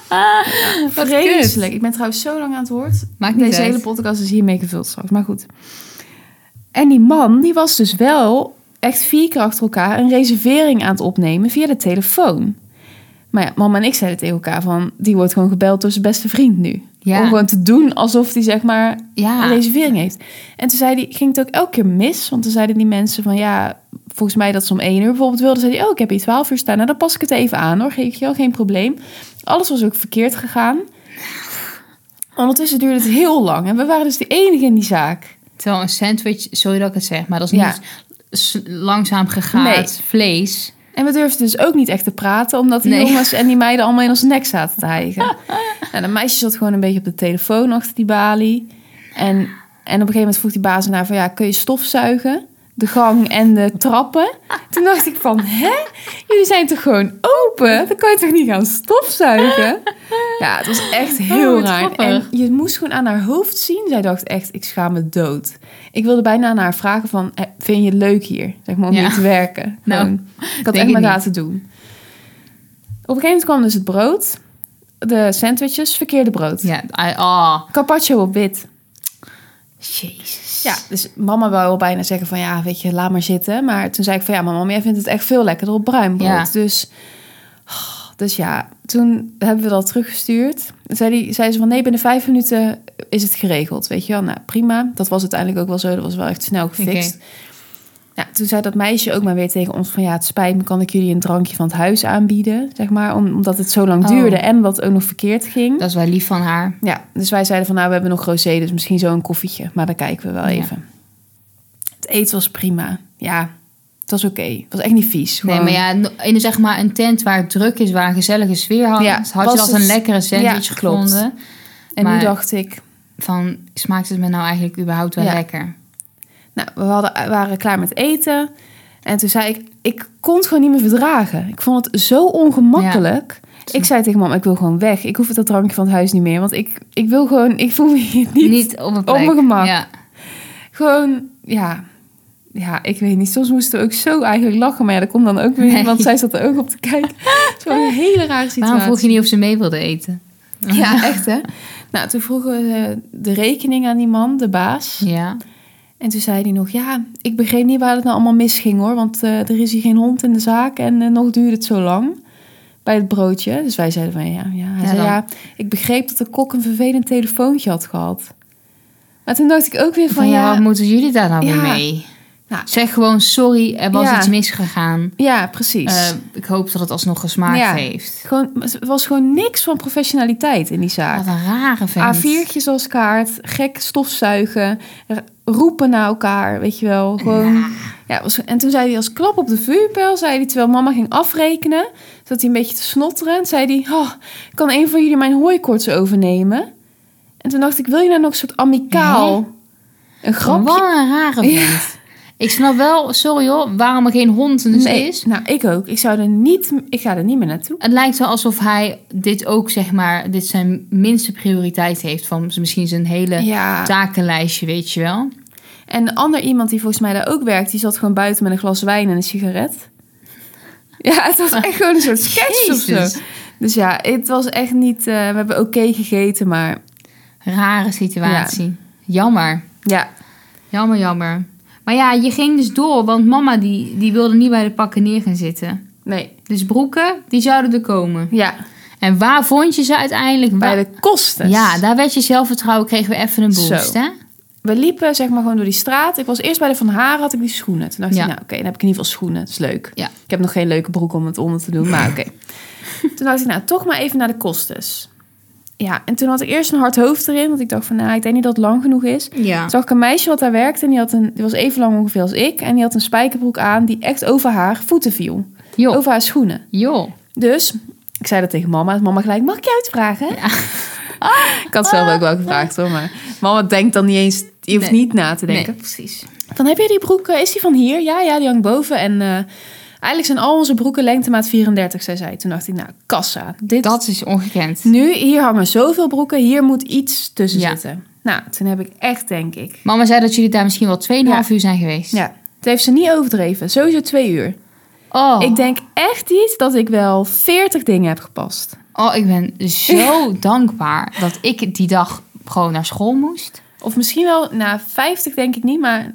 S1: Ja, Vreselijk. Ik ben trouwens zo lang aan het woord.
S2: Maakt niet
S1: Deze
S2: uit.
S1: hele podcast is hiermee gevuld straks, maar goed. En die man, die was dus wel echt vier keer achter elkaar een reservering aan het opnemen via de telefoon. Maar ja, mama en ik zeiden tegen elkaar van... die wordt gewoon gebeld door zijn beste vriend nu.
S2: Ja.
S1: Om gewoon te doen alsof die zeg maar
S2: Ja.
S1: een reservering heeft. En toen zei die, ging het ook elke keer mis. Want toen zeiden die mensen van ja, volgens mij dat ze om één uur bijvoorbeeld wilden. Zeiden die, oh, ik heb hier 12 uur staan. Nou, dan pas ik het even aan hoor. Geef je wel geen probleem. Alles was ook verkeerd gegaan. Ondertussen duurde het heel lang. En we waren dus de enige in die zaak.
S2: Terwijl een sandwich, sorry dat ik het zeg, maar dat is
S1: Ja.
S2: niet s- langzaam gegaat
S1: Nee.
S2: vlees.
S1: En we durfden dus ook niet echt te praten, omdat die
S2: Nee.
S1: jongens en die meiden allemaal in ons nek zaten te hijgen. en de meisje zat gewoon een beetje op de telefoon achter die balie. En, en op een gegeven moment vroeg die baas naar van ja, kun je stofzuigen? De gang en de trappen. Toen dacht ik van, hè? Jullie zijn toch gewoon open? Dan kan je toch niet gaan stofzuigen? Ja, het was echt heel
S2: Oh, wat
S1: raar. En
S2: grappig.
S1: je moest gewoon aan haar hoofd zien. Zij dacht echt, ik schaam me dood. Ik wilde bijna aan haar vragen van, eh, vind je het leuk hier? Zeg maar om
S2: Ja.
S1: hier te werken.
S2: Nou.
S1: Gewoon. Ik had
S2: Denk
S1: echt
S2: ik
S1: maar
S2: niet.
S1: laten doen. Op een gegeven moment kwam dus het brood. De sandwiches, verkeerde brood.
S2: Ja, I- ah,
S1: Carpaccio op wit.
S2: jezus.
S1: Ja, dus mama wou al bijna zeggen van... ja, weet je, laat maar zitten. Maar toen zei ik van... ja, maar mama, jij vindt het echt veel lekkerder op bruin brood.
S2: Ja.
S1: Dus, dus ja, toen hebben we dat teruggestuurd. Toen Zei, die, zei ze van... nee, binnen vijf minuten is het geregeld. Weet je wel, nou prima. Dat was uiteindelijk ook wel zo. Dat was wel echt snel gefixt. Ja, toen zei dat meisje ook maar weer tegen ons van... ja, het spijt me, kan ik jullie een drankje van het huis aanbieden? Zeg maar, om- omdat het zo lang
S2: Oh.
S1: duurde en wat ook nog verkeerd ging.
S2: Dat is wel lief van haar.
S1: Ja, dus wij zeiden van nou, we hebben nog rosé, dus misschien zo een koffietje. Maar dan kijken we wel
S2: Ja.
S1: even. Het eten was prima. Ja, het was oké. Het was echt niet vies.
S2: Nee,
S1: Gewoon-
S2: maar ja, no- in zeg maar een tent waar het druk is, waar een gezellige sfeer hangt,
S1: Ja,
S2: had
S1: was
S2: je dat
S1: het-
S2: een lekkere sandwich
S1: Ja, klopt.
S2: gevonden.
S1: en nu
S2: maar-
S1: dacht ik,
S2: Van, smaakt het me nou eigenlijk überhaupt wel
S1: Ja.
S2: lekker?
S1: nou, we hadden, waren klaar met eten. En toen zei ik, ik kon het gewoon niet meer verdragen. Ik vond het zo ongemakkelijk. Ik zei tegen mama, ik wil gewoon weg. Ik hoef dat drankje van het huis niet meer. Want ik, ik wil gewoon, ik voel me hier niet,
S2: op een
S1: op mijn gemak.
S2: Ja.
S1: Gewoon, ja. Ja, ik weet niet. Soms moesten we ook zo eigenlijk lachen. Maar ja, dat komt dan ook weer
S2: Nee.
S1: want zij zat er ook op te kijken. Het is wel een hele rare situatie.
S2: Waarom vroeg je niet of ze mee wilde eten?
S1: Ja, echt hè. Nou, toen vroegen we eh, de rekening aan die man, de baas.
S2: Ja.
S1: En toen zei hij nog, ja, ik begreep niet waar het nou allemaal misging hoor. Want eh, er is hier geen hond in de zaak en eh, nog duurde het zo lang bij het broodje. Dus wij zeiden van, ja, ja. Hij
S2: Ja,
S1: zei,
S2: dan.
S1: ja, ik begreep dat de kok een vervelend telefoontje had gehad. Maar toen dacht ik ook weer van,
S2: Van ja,
S1: ja,
S2: wat moeten jullie daar nou weer
S1: Ja.
S2: mee?
S1: Nou.
S2: zeg gewoon sorry, er was
S1: Ja.
S2: iets misgegaan.
S1: ja, precies.
S2: Eh, ik hoop dat het alsnog gesmaakt
S1: Ja.
S2: heeft.
S1: Gewoon, er was gewoon niks van professionaliteit in die zaak.
S2: Wat een rare vent.
S1: A4'tjes als kaart, gek stofzuigen, r- roepen naar elkaar, weet je wel. Gewoon, ja. het was, en toen zei hij als klap op de vuurpijl, zei hij terwijl mama ging afrekenen, zat hij een beetje te snotteren. En zei hij, oh, kan een van jullie mijn hooikoorts overnemen? En toen dacht ik, wil je nou nog een soort amicaal, een grapje?
S2: Wat een rare vent. Ik snap wel, sorry hoor, waarom er geen hond dus
S1: Nee,
S2: is.
S1: nou ik ook. Ik zou er niet, ik ga er niet meer naartoe.
S2: Het lijkt wel alsof hij dit ook, zeg maar, dit zijn minste prioriteit heeft van z- misschien zijn hele
S1: Ja.
S2: takenlijstje, weet je wel.
S1: En een ander iemand die volgens mij daar ook werkt, die zat gewoon buiten met een glas wijn en een sigaret. Ja, het was echt gewoon een soort sketch of zo.
S2: Jezus.
S1: Dus ja, het was echt niet. eh, we hebben oké gegeten, maar
S2: Rare situatie. Jammer.
S1: ja.
S2: Jammer, jammer. Maar ja, je ging dus door, want mama die, die wilde niet bij de pakken neer gaan zitten.
S1: Nee.
S2: Dus broeken, die zouden er komen.
S1: Ja,
S2: En waar vond je ze uiteindelijk?
S1: bij
S2: Waar-
S1: de kosten.
S2: Ja, daar werd je zelfvertrouwen, kregen we even een boost,
S1: Zo.
S2: hè?
S1: we liepen zeg maar gewoon door die straat. Ik was eerst bij de Van Haren, had ik die schoenen. Toen dacht
S2: Ja.
S1: ik, nou oké, dan heb ik in ieder geval schoenen. Dat is leuk.
S2: Ja.
S1: Ik heb nog geen leuke broek om het onder te doen, maar oké. toen dacht ik, nou toch maar even naar de kostes. Ja, en toen had ik eerst een hard hoofd erin. Want ik dacht van, nou, ik denk niet dat het lang genoeg is.
S2: Ja.
S1: Zag ik een meisje wat daar werkte en die, had een, die was even lang ongeveer als ik. En die had een spijkerbroek aan die echt over haar voeten viel.
S2: Joh.
S1: Over haar schoenen.
S2: Joh.
S1: Dus ik zei dat tegen mama. Mama gelijk, mag ik je uitvragen? ik had zelf ook wel gevraagd hoor. Maar mama denkt dan niet eens, je hoeft
S2: Nee.
S1: niet na te denken.
S2: Nee, precies.
S1: Dan heb je die broek, eh, is die van hier? Ja, ja, die hangt boven. En eh, eigenlijk zijn al onze broeken lengtemaat 34, zei zij. Toen dacht ik, nou, kassa. Dit,
S2: Dat is ongekend.
S1: Nu, hier hangen zoveel broeken, hier moet iets tussen
S2: Ja.
S1: zitten. Nou, toen heb ik echt, denk ik.
S2: Mama zei dat jullie daar misschien wel 2,5 uur zijn geweest.
S1: Ja, het heeft ze niet overdreven. Sowieso twee uur.
S2: Oh.
S1: Ik denk echt niet dat ik wel 40 dingen heb gepast.
S2: oh, ik ben zo dankbaar dat ik die dag gewoon naar school moest.
S1: Of misschien wel, na 50 denk ik niet, maar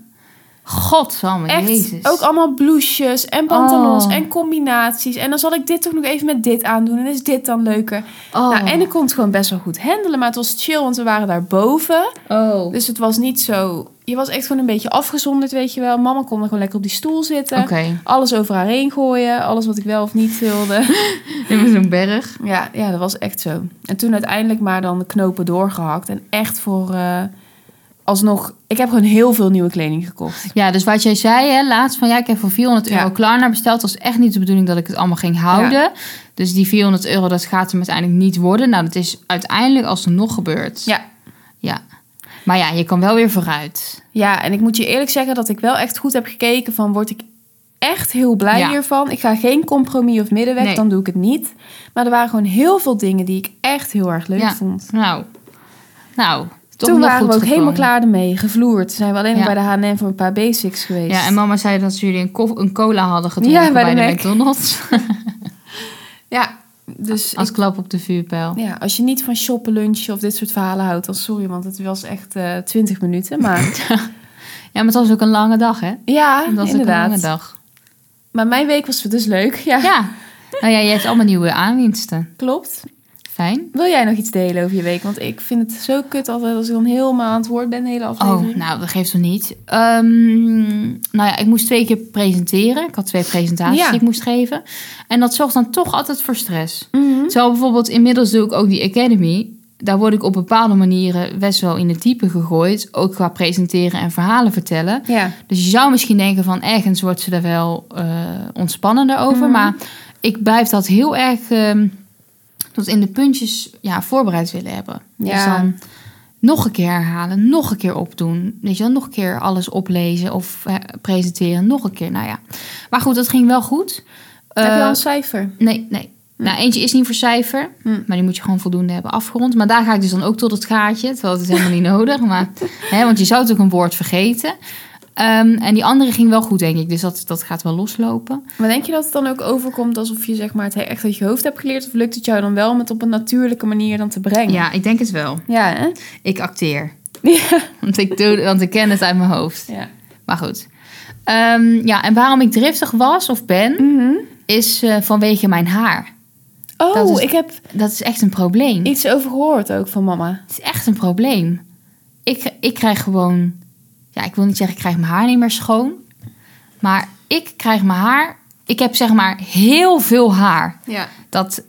S2: Godsamme,
S1: Echt,
S2: Oh, jezus.
S1: ook allemaal blouses en pantalons
S2: Oh.
S1: en combinaties. En dan zal ik dit toch nog even met dit aandoen. En is dit dan leuker?
S2: Oh.
S1: Nou, en ik kon het gewoon best wel goed handelen. Maar het was chill, want we waren daar boven.
S2: Oh.
S1: Dus het was niet zo... Je was echt gewoon een beetje afgezonderd, weet je wel. Mama kon er gewoon lekker op die stoel zitten.
S2: Oké.
S1: Alles over haar heen gooien. Alles wat ik wel of niet wilde.
S2: Dit was een berg.
S1: ja, ja, dat was echt zo. En toen uiteindelijk maar dan de knopen doorgehakt. En echt voor... eh, alsnog... Ik heb gewoon heel veel nieuwe kleding gekocht.
S2: Ja, dus wat jij zei hè, laatst van ja, ik heb voor 400
S1: Ja.
S2: euro Klarna besteld. was echt niet de bedoeling dat ik het allemaal ging houden. Dus die 400 euro, dat gaat hem uiteindelijk niet worden. Nou, dat is uiteindelijk alsnog gebeurd.
S1: Ja,
S2: ja. Maar ja, je kan wel weer vooruit.
S1: Ja, en ik moet je eerlijk zeggen dat ik wel echt goed heb gekeken van word ik echt heel blij
S2: Ja.
S1: hiervan. Ik ga geen compromis of middenweg,
S2: Nee.
S1: dan doe ik het niet. Maar er waren gewoon heel veel dingen die ik echt heel erg leuk
S2: Ja.
S1: vond.
S2: Nou, nou toch
S1: Toen
S2: nog
S1: waren we
S2: goed
S1: ook
S2: gekomen.
S1: helemaal klaar ermee, gevloerd. Zijn we alleen nog
S2: Ja.
S1: bij de H&M voor een paar basics geweest.
S2: Ja, en mama zei dat jullie een, kof- een cola hadden gedronken
S1: Ja, bij
S2: bij,
S1: de
S2: de,
S1: Mac.
S2: McDonald's.
S1: Ja, dus
S2: Als
S1: ik-
S2: klap op de vuurpijl.
S1: ja, als je niet van shoppen, lunchen of dit soort verhalen houdt... dan sorry, want het was echt eh, twintig minuten. Maar
S2: Ja, maar het was ook een lange dag, hè?
S1: ja,
S2: Het was ook een lange
S1: inderdaad.
S2: dag.
S1: Maar mijn week was dus leuk. Ja,
S2: Ja. Nou ja, je hebt allemaal nieuwe aanwinsten.
S1: klopt.
S2: Fijn.
S1: Wil jij nog iets delen over je week? Want ik vind het zo kut altijd als ik dan helemaal aan het woord ben de hele aflevering.
S2: Oh, nou, dat geeft toch niet. Ehm, nou ja, ik moest twee keer presenteren. Ik had twee presentaties
S1: Ja.
S2: die ik moest geven. En dat zorgt dan toch altijd voor stress.
S1: Mhm.
S2: Zo bijvoorbeeld, inmiddels doe ik ook die Academy. Daar word ik op bepaalde manieren best wel in het diepe gegooid. Ook qua presenteren en verhalen vertellen.
S1: Ja.
S2: Dus je zou misschien denken van ergens wordt ze er wel eh, ontspannender over.
S1: Mhm.
S2: Maar ik blijf dat heel erg ehm, tot in de puntjes ja, voorbereid willen hebben. Dus
S1: Ja.
S2: dan nog een keer herhalen, nog een keer opdoen. Weet je wel, nog een keer alles oplezen of eh, presenteren, nog een keer. Nou ja. Maar goed, dat ging wel goed.
S1: Heb je
S2: Eh,
S1: al een cijfer?
S2: Nee, nee. Nou, eentje is niet voor cijfer,
S1: Hmm.
S2: maar die moet je gewoon voldoende hebben afgerond. Maar daar ga ik dus dan ook tot het gaatje, terwijl het is helemaal niet nodig. Maar, hè, want je zou toch een woord vergeten. Ehm, en die andere ging wel goed, denk ik. Dus dat, dat gaat wel loslopen.
S1: Maar denk je dat het dan ook overkomt alsof je zeg maar, het echt uit je hoofd hebt geleerd? Of lukt het jou dan wel om het op een natuurlijke manier dan te brengen?
S2: Ja, ik denk het wel.
S1: Ja, hè?
S2: Ik acteer.
S1: Ja.
S2: Want ik, doe, want ik ken het uit mijn hoofd.
S1: ja.
S2: Maar goed. Ehm, ja, en waarom ik driftig was of ben,
S1: Mhm.
S2: is eh, vanwege mijn haar. Dat
S1: Oh,
S2: is- Mhm.
S1: ik heb
S2: Dat is echt een probleem.
S1: iets over gehoord ook van mama.
S2: Het is echt een probleem. Ik, ik krijg gewoon... Ja, ik wil niet zeggen ik krijg mijn haar niet meer schoon. Maar ik krijg mijn haar... Ik heb zeg maar heel veel haar.
S1: Ja.
S2: Dat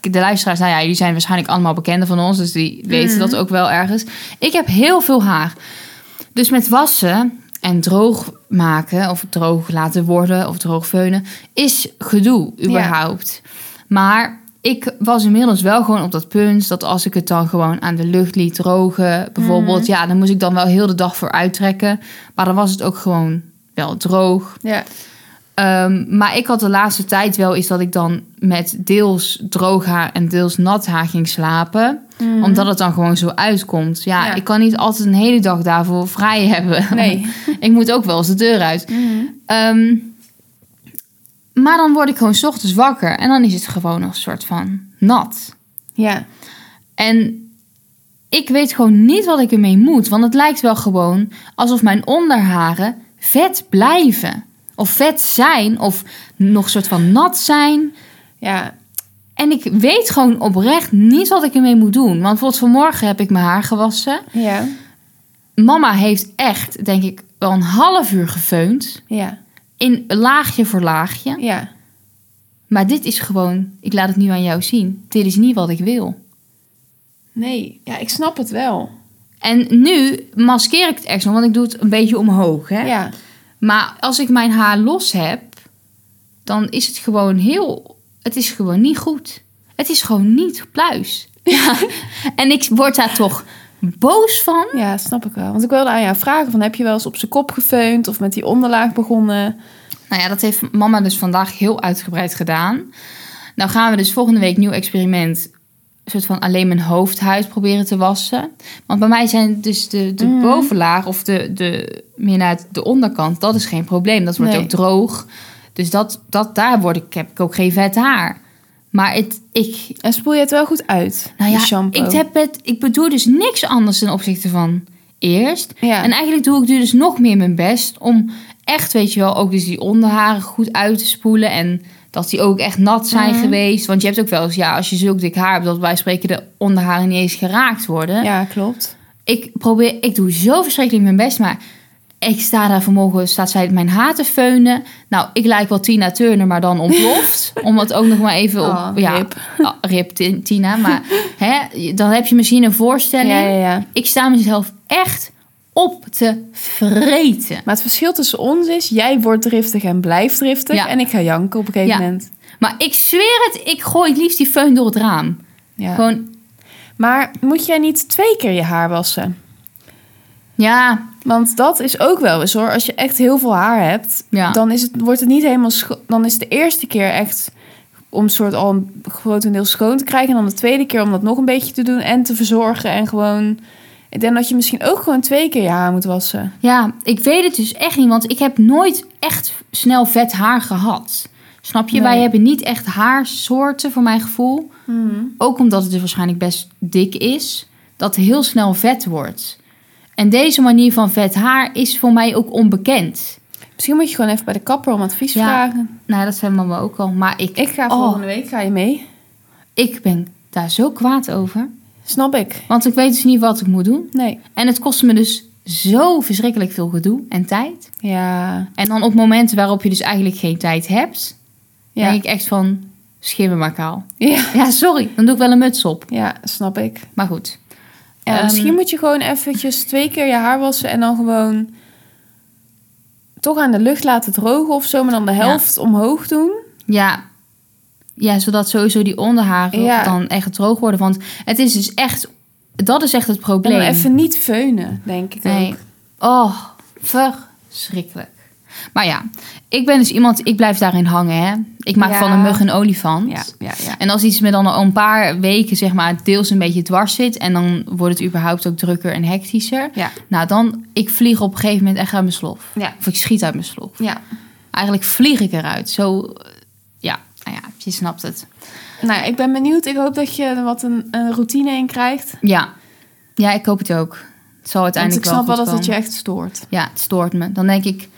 S2: de luisteraars, nou ja, jullie zijn waarschijnlijk allemaal bekenden van ons. Dus die weten dat ook wel ergens. Ik heb heel veel haar. Dus met wassen en droog maken of droog laten worden of droog veunen is gedoe überhaupt. Maar ik was inmiddels wel gewoon op dat punt dat als ik het dan gewoon aan de lucht liet drogen, bijvoorbeeld, ja, dan moest ik dan wel heel de dag voor uittrekken. Maar dan was het ook gewoon wel droog.
S1: Ja.
S2: Ehm, maar ik had de laatste tijd wel is dat ik dan met deels droog haar en deels nat haar ging slapen.
S1: Mhm.
S2: Omdat het dan gewoon zo uitkomt. Ja,
S1: Ja.
S2: ik kan niet altijd een hele dag daarvoor vrij hebben.
S1: Nee.
S2: ik moet ook wel eens de deur uit.
S1: Mhm.
S2: Ehm, maar dan word ik gewoon 's ochtends wakker en dan is het gewoon nog een soort van nat.
S1: Ja.
S2: En ik weet gewoon niet wat ik ermee moet. Want het lijkt wel gewoon alsof mijn onderharen vet blijven. Of vet zijn. Of nog een soort van nat zijn.
S1: Ja.
S2: En ik weet gewoon oprecht niet wat ik ermee moet doen. Want bijvoorbeeld vanmorgen heb ik mijn haar gewassen.
S1: Ja.
S2: mama heeft echt, denk ik, wel een half uur gefeund.
S1: Ja,
S2: In laagje voor laagje.
S1: ja.
S2: Maar dit is gewoon, ik laat het nu aan jou zien. Dit is niet wat ik wil.
S1: Nee, ja, ik snap het wel.
S2: En nu maskeer ik het echt zo, want ik doe het een beetje omhoog. Hè?
S1: Ja,
S2: Maar als ik mijn haar los heb, dan is het gewoon heel. Het is gewoon niet goed. Het is gewoon niet pluis. Ja. En ik word daar toch boos van.
S1: ja, snap ik wel. Want ik wilde aan jou vragen: van, heb je wel eens op zijn kop gefeund of met die onderlaag begonnen?
S2: Nou ja, dat heeft mama dus vandaag heel uitgebreid gedaan. Nou gaan we dus volgende week nieuw experiment. Een soort van alleen mijn hoofdhuid proberen te wassen. Want bij mij zijn dus de, de
S1: Mhm.
S2: bovenlaag of de, de, meer naar het- de onderkant, dat is geen probleem. Dat wordt
S1: Nee.
S2: ook droog. Dus dat, dat, daar word ik, heb ik ook geen vet haar. Maar het, ik,
S1: En spoel je het wel goed uit?
S2: nou
S1: die
S2: ja,
S1: shampoo.
S2: ik, heb het, ik bedoel dus niks anders ten opzichte van eerst.
S1: ja.
S2: En eigenlijk doe ik nu dus nog meer mijn best om echt, weet je wel, ook dus die onderharen goed uit te spoelen. En dat die ook echt nat zijn
S1: Mhm.
S2: geweest. Want je hebt ook wel eens, ja, als je zulk dik haar hebt, dat wij spreken de onderharen niet eens geraakt worden.
S1: ja, klopt.
S2: Ik probeer, ik doe zo verschrikkelijk mijn best, maar ik sta daar vanmorgen, staat zij mijn haar te feunen. Nou, ik lijk wel Tina Turner, maar dan ontploft. om het ook nog maar even op,
S1: Oh,
S2: ja,
S1: rip.
S2: ah, rip Ti- Tina. Maar hè, dan heb je misschien een voorstelling.
S1: Ja, ja, ja.
S2: Ik sta mezelf echt op te vreten.
S1: Maar het verschil tussen ons is, jij wordt driftig en blijft driftig.
S2: Ja.
S1: En ik ga janken op een gegeven
S2: Ja.
S1: moment.
S2: Maar ik zweer het, ik gooi het liefst die föhn door het raam.
S1: Ja.
S2: Gewoon,
S1: Maar moet jij niet twee keer je haar wassen?
S2: ja,
S1: Want dat is ook wel eens hoor. Als je echt heel veel haar hebt,
S2: Ja.
S1: dan is het, wordt het niet helemaal scho- Dan is het de eerste keer echt om soort al een grotendeels schoon te krijgen. En dan de tweede keer om dat nog een beetje te doen en te verzorgen. En gewoon. Ik denk dat je misschien ook gewoon twee keer je haar moet wassen.
S2: ja, ik weet het dus echt niet, want ik heb nooit echt snel vet haar gehad. Snap je?
S1: Nee.
S2: Wij hebben niet echt haarsoorten, voor mijn gevoel.
S1: Hmm.
S2: Ook omdat het dus waarschijnlijk best dik is, dat heel snel vet wordt. En deze manier van vet haar is voor mij ook onbekend.
S1: Misschien moet je gewoon even bij de kapper om advies
S2: Ja.
S1: vragen.
S2: Nou, dat zei mama ook al. Maar ik,
S1: Ik ga
S2: Oh.
S1: volgende week ga je mee.
S2: ik ben daar zo kwaad over.
S1: Snap ik?
S2: Want ik weet dus niet wat ik moet doen.
S1: Nee.
S2: En het kost me dus zo verschrikkelijk veel gedoe en tijd.
S1: Ja.
S2: En dan op momenten waarop je dus eigenlijk geen tijd hebt,
S1: Ja.
S2: denk ik echt van schimmen maar kaal.
S1: ja.
S2: Ja, sorry, dan doe ik wel een muts op.
S1: Ja, snap ik.
S2: Maar goed.
S1: Ja,
S2: Ehm,
S1: misschien moet je gewoon eventjes twee keer je haar wassen en dan gewoon toch aan de lucht laten drogen of zo, maar dan de helft omhoog doen.
S2: Ja. Ja, zodat sowieso die onderharen
S1: Ja.
S2: dan echt droog worden. Want het is dus echt, dat is echt het
S1: En
S2: probleem.
S1: dan even niet feunen, denk ik
S2: Nee.
S1: ook.
S2: Oh, verschrikkelijk. Maar ja, ik ben dus iemand, ik blijf daarin hangen. Hè? Ik maak
S1: Ja.
S2: van een mug een olifant.
S1: Ja, ja, ja.
S2: En als iets me dan al een paar weken, zeg maar, deels een beetje dwars zit. En dan wordt het überhaupt ook drukker en hectischer.
S1: Ja.
S2: Nou, dan, ik vlieg op een gegeven moment echt uit mijn slof.
S1: Ja.
S2: Of ik schiet uit mijn slof.
S1: Ja.
S2: Eigenlijk vlieg ik eruit. Zo, eh, ja, nou ja, je snapt het.
S1: Nou, ik ben benieuwd. Ik hoop dat je er wat een, een routine in krijgt.
S2: Ja, ja ik hoop het ook. Het zal
S1: Want
S2: uiteindelijk
S1: ik snap wel
S2: goed
S1: dat het
S2: komen.
S1: je echt stoort.
S2: Ja, het stoort me. Dan denk ik,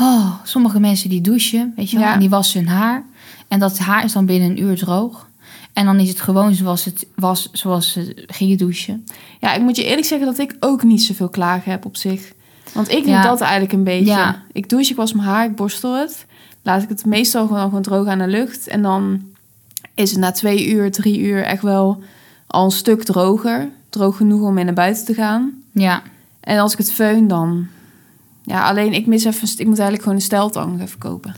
S2: oh, sommige mensen die douchen, weet je wel,
S1: Ja.
S2: en die wassen hun haar. En dat haar is dan binnen een uur droog. En dan is het gewoon zoals het was, zoals ze gingen douchen.
S1: Ja, ik moet je eerlijk zeggen dat ik ook niet zoveel klagen heb op zich. Want ik doe
S2: Ja.
S1: dat eigenlijk een beetje.
S2: Ja.
S1: Ik douche, ik was mijn haar, ik borstel het. Laat ik het meestal gewoon, gewoon droog aan de lucht. En dan is het na twee uur, drie uur echt wel al een stuk droger. Droog genoeg om mee naar buiten te gaan.
S2: Ja,
S1: En als ik het föhn, dan... Ja, alleen ik mis even... een st- Ik moet eigenlijk gewoon een steltang nog even kopen.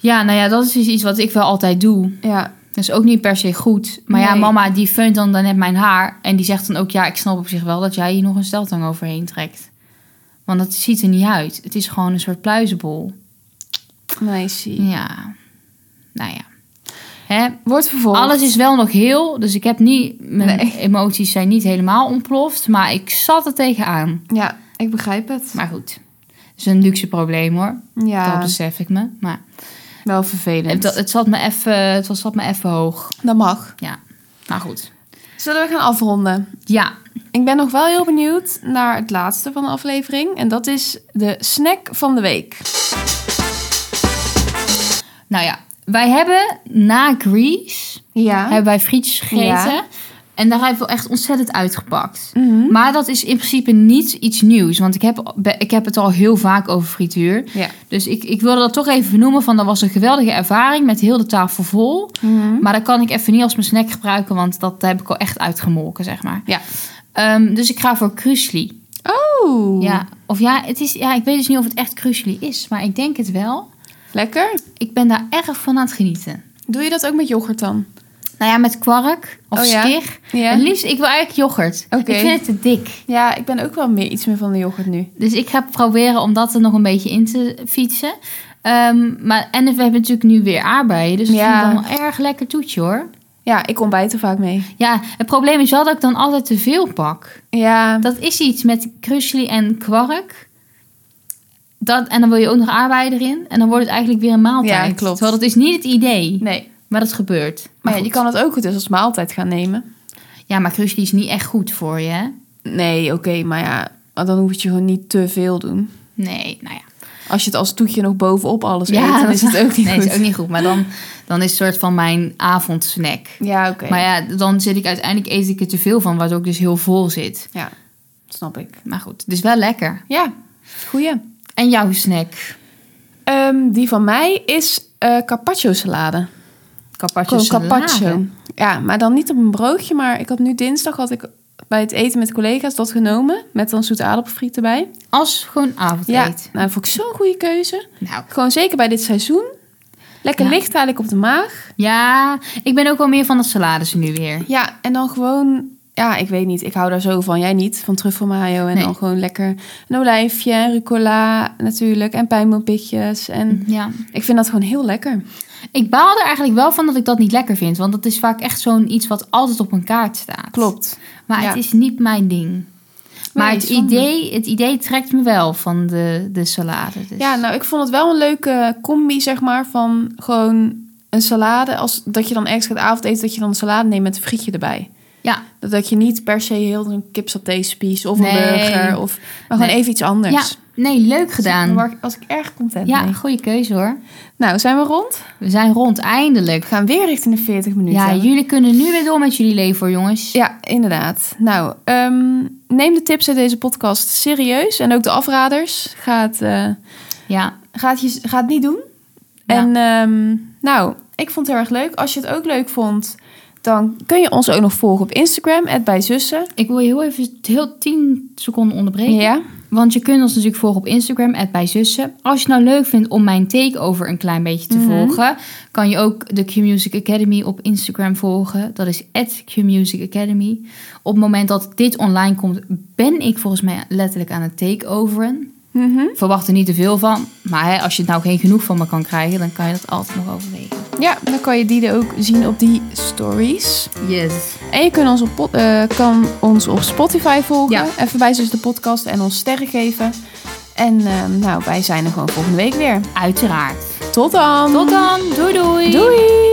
S2: ja nou ja, dat is dus iets wat ik wel altijd doe.
S1: Ja,
S2: Dat is ook niet per se goed. Maar ja,
S1: Nee.
S2: mama die feunt dan net mijn haar. En die zegt dan ook, ja, ik snap op zich wel dat jij hier nog een steltang overheen trekt. Want dat ziet er niet uit. Het is gewoon een soort pluizenbol.
S1: nice.
S2: Ja, nou ja. Hè,
S1: Wordt vervolgd.
S2: Alles is wel nog heel, dus ik heb niet, mijn
S1: Nee.
S2: emoties zijn niet helemaal ontploft, maar ik zat er tegenaan.
S1: Ja, ik begrijp het.
S2: Maar goed, het is een luxe probleem hoor, dat
S1: Ja,
S2: besef ik me. Maar
S1: wel
S2: het,
S1: vervelend.
S2: het zat me even, het was- zat me even hoog.
S1: Dat mag.
S2: Ja, maar goed.
S1: Zullen we gaan afronden?
S2: Ja,
S1: Ik ben nog wel heel benieuwd naar het laatste van de aflevering. En dat is de snack van de week.
S2: nou ja, wij hebben na Grease
S1: Ja.
S2: hebben wij frietjes gegeten.
S1: Ja.
S2: En daar heb ik wel echt ontzettend uitgepakt.
S1: Mhm.
S2: Maar dat is in principe niet iets nieuws. Want ik heb, ik heb het al heel vaak over frituur.
S1: Ja.
S2: Dus ik, ik wilde dat toch even benoemen. Van dat was een geweldige ervaring met heel de tafel vol.
S1: Mhm.
S2: Maar dat kan ik even niet als mijn snack gebruiken. Want dat heb ik al echt uitgemolken, zeg maar.
S1: Ja.
S2: Ehm, dus ik ga voor krusli.
S1: Oh.
S2: Ja. Of ja, het is, ja, ik weet dus niet of het echt krusli is. Maar ik denk het wel.
S1: Lekker.
S2: Ik ben daar erg van aan het genieten.
S1: Doe je dat ook met yoghurt dan?
S2: Nou ja, met kwark of
S1: Oh ja?
S2: skir.
S1: Ja.
S2: Het liefst, ik wil eigenlijk yoghurt.
S1: Oké.
S2: Ik vind het te dik.
S1: Ja, ik ben ook wel meer, iets meer van de yoghurt nu.
S2: Dus ik ga proberen om dat er nog een beetje in te fietsen. Ehm, maar, en we hebben natuurlijk nu weer aardbeien. Dus het
S1: Ja.
S2: is dan wel een erg lekker toetje hoor.
S1: Ja, ik ontbijt er vaak mee.
S2: Ja, het probleem is wel dat ik dan altijd te veel pak.
S1: Ja,
S2: Dat is iets met krusli en kwark. Dat, en dan wil je ook nog aardbeien erin. En dan wordt het eigenlijk weer een maaltijd.
S1: Ja, klopt.
S2: Terwijl dat is niet het idee.
S1: nee.
S2: Maar dat gebeurt.
S1: Maar ja,
S2: goed.
S1: je kan het ook dus als maaltijd gaan nemen.
S2: ja, maar krusli is niet echt goed voor je hè?
S1: Nee, oké, maar ja, maar dan hoef je het je gewoon niet te veel doen.
S2: Nee, nou ja.
S1: Als je het als toetje nog bovenop alles eet, dan
S2: dat
S1: is het ook niet
S2: nee,
S1: goed.
S2: is ook niet goed. Maar dan, dan is het soort van mijn avondsnack.
S1: Ja, oké.
S2: Maar ja, dan zit ik uiteindelijk eet ik er te veel van, waardoor ik dus heel vol zit.
S1: Ja, snap ik.
S2: Maar goed, dus wel lekker.
S1: Ja, goeie.
S2: En jouw snack?
S1: Ehm, die van mij is eh carpaccio salade.
S2: Carpaccio.
S1: Gewoon
S2: salade.
S1: carpaccio. Ja, maar dan niet op een broodje. Maar ik had nu dinsdag had ik bij het eten met collega's dat genomen. Met dan zoete aardappelfriet erbij.
S2: Als gewoon
S1: Ja,
S2: avondeten.
S1: nou, dat vond ik zo'n goede keuze.
S2: Nou,
S1: Gewoon zeker bij dit seizoen. Lekker
S2: Ja.
S1: licht eigenlijk op de maag.
S2: ja, ik ben ook wel meer van de salades nu weer.
S1: Ja, en dan gewoon... Ja, ik weet niet. Ik hou daar zo van. Jij niet? Van truffelmayo. En
S2: Nee.
S1: dan gewoon lekker een olijfje en rucola natuurlijk. En pijnboompitjes. En
S2: Ja.
S1: ik vind dat gewoon heel lekker.
S2: Ik baal er eigenlijk wel van dat ik dat niet lekker vind. Want dat is vaak echt zo'n iets wat altijd op een kaart staat.
S1: Klopt.
S2: Maar
S1: Ja.
S2: het is niet mijn ding. Maar het,
S1: zonde.
S2: idee, het idee trekt me wel van de, de salade. Dus.
S1: Ja, nou, ik vond het wel een leuke combi, zeg maar, van gewoon een salade. Als, dat je dan ergens gaat avondeten, dat je dan een salade neemt met een frietje erbij.
S2: ja,
S1: Dat, dat je niet per se heel een kipsaté spies of een
S2: Nee.
S1: burger, of, maar gewoon
S2: Nee.
S1: even iets anders.
S2: ja, nee, leuk
S1: Daar
S2: gedaan.
S1: was ik- was ik erg content
S2: Ja,
S1: mee.
S2: goede keuze hoor.
S1: Nou, zijn we rond?
S2: We zijn rond, eindelijk.
S1: We gaan weer richting de 40 minuten.
S2: Ja, jullie kunnen nu weer door met jullie leven, hoor, jongens.
S1: Ja, inderdaad. Nou, ehm, neem de tips uit deze podcast serieus. En ook de afraders. Ga het, eh,
S2: Ja,
S1: ga het, je, ga het niet doen.
S2: Ja.
S1: En ehm, nou, ik vond het heel erg leuk. Als je het ook leuk vond, dan kun je ons ook nog volgen op Instagram, bij zussen.
S2: ik wil je heel even heel 10 seconden onderbreken.
S1: Ja,
S2: Want je kunt ons natuurlijk volgen op Instagram, bij zussen. Als je het nou leuk vindt om mijn takeover een klein beetje te
S1: Mhm.
S2: volgen, kan je ook de Q Music Academy op Instagram volgen. Dat is Q Music Academy. Op het moment dat dit online komt, ben ik volgens mij letterlijk aan het takeoveren.
S1: Mhm.
S2: Verwacht er niet te veel van. Maar hè, als je het nou geen genoeg van me kan krijgen, dan kan je dat altijd nog overwegen.
S1: ja dan kan je die er ook zien op die stories.
S2: Yes.
S1: En je kunt ons op, pod- eh, kan ons op Spotify volgen.
S2: Ja.
S1: Even bij zussen de podcast en ons sterren geven. En ehm, nou, wij zijn er gewoon volgende week weer.
S2: Uiteraard.
S1: Tot dan!
S2: Tot dan. Doei doei.
S1: Doei!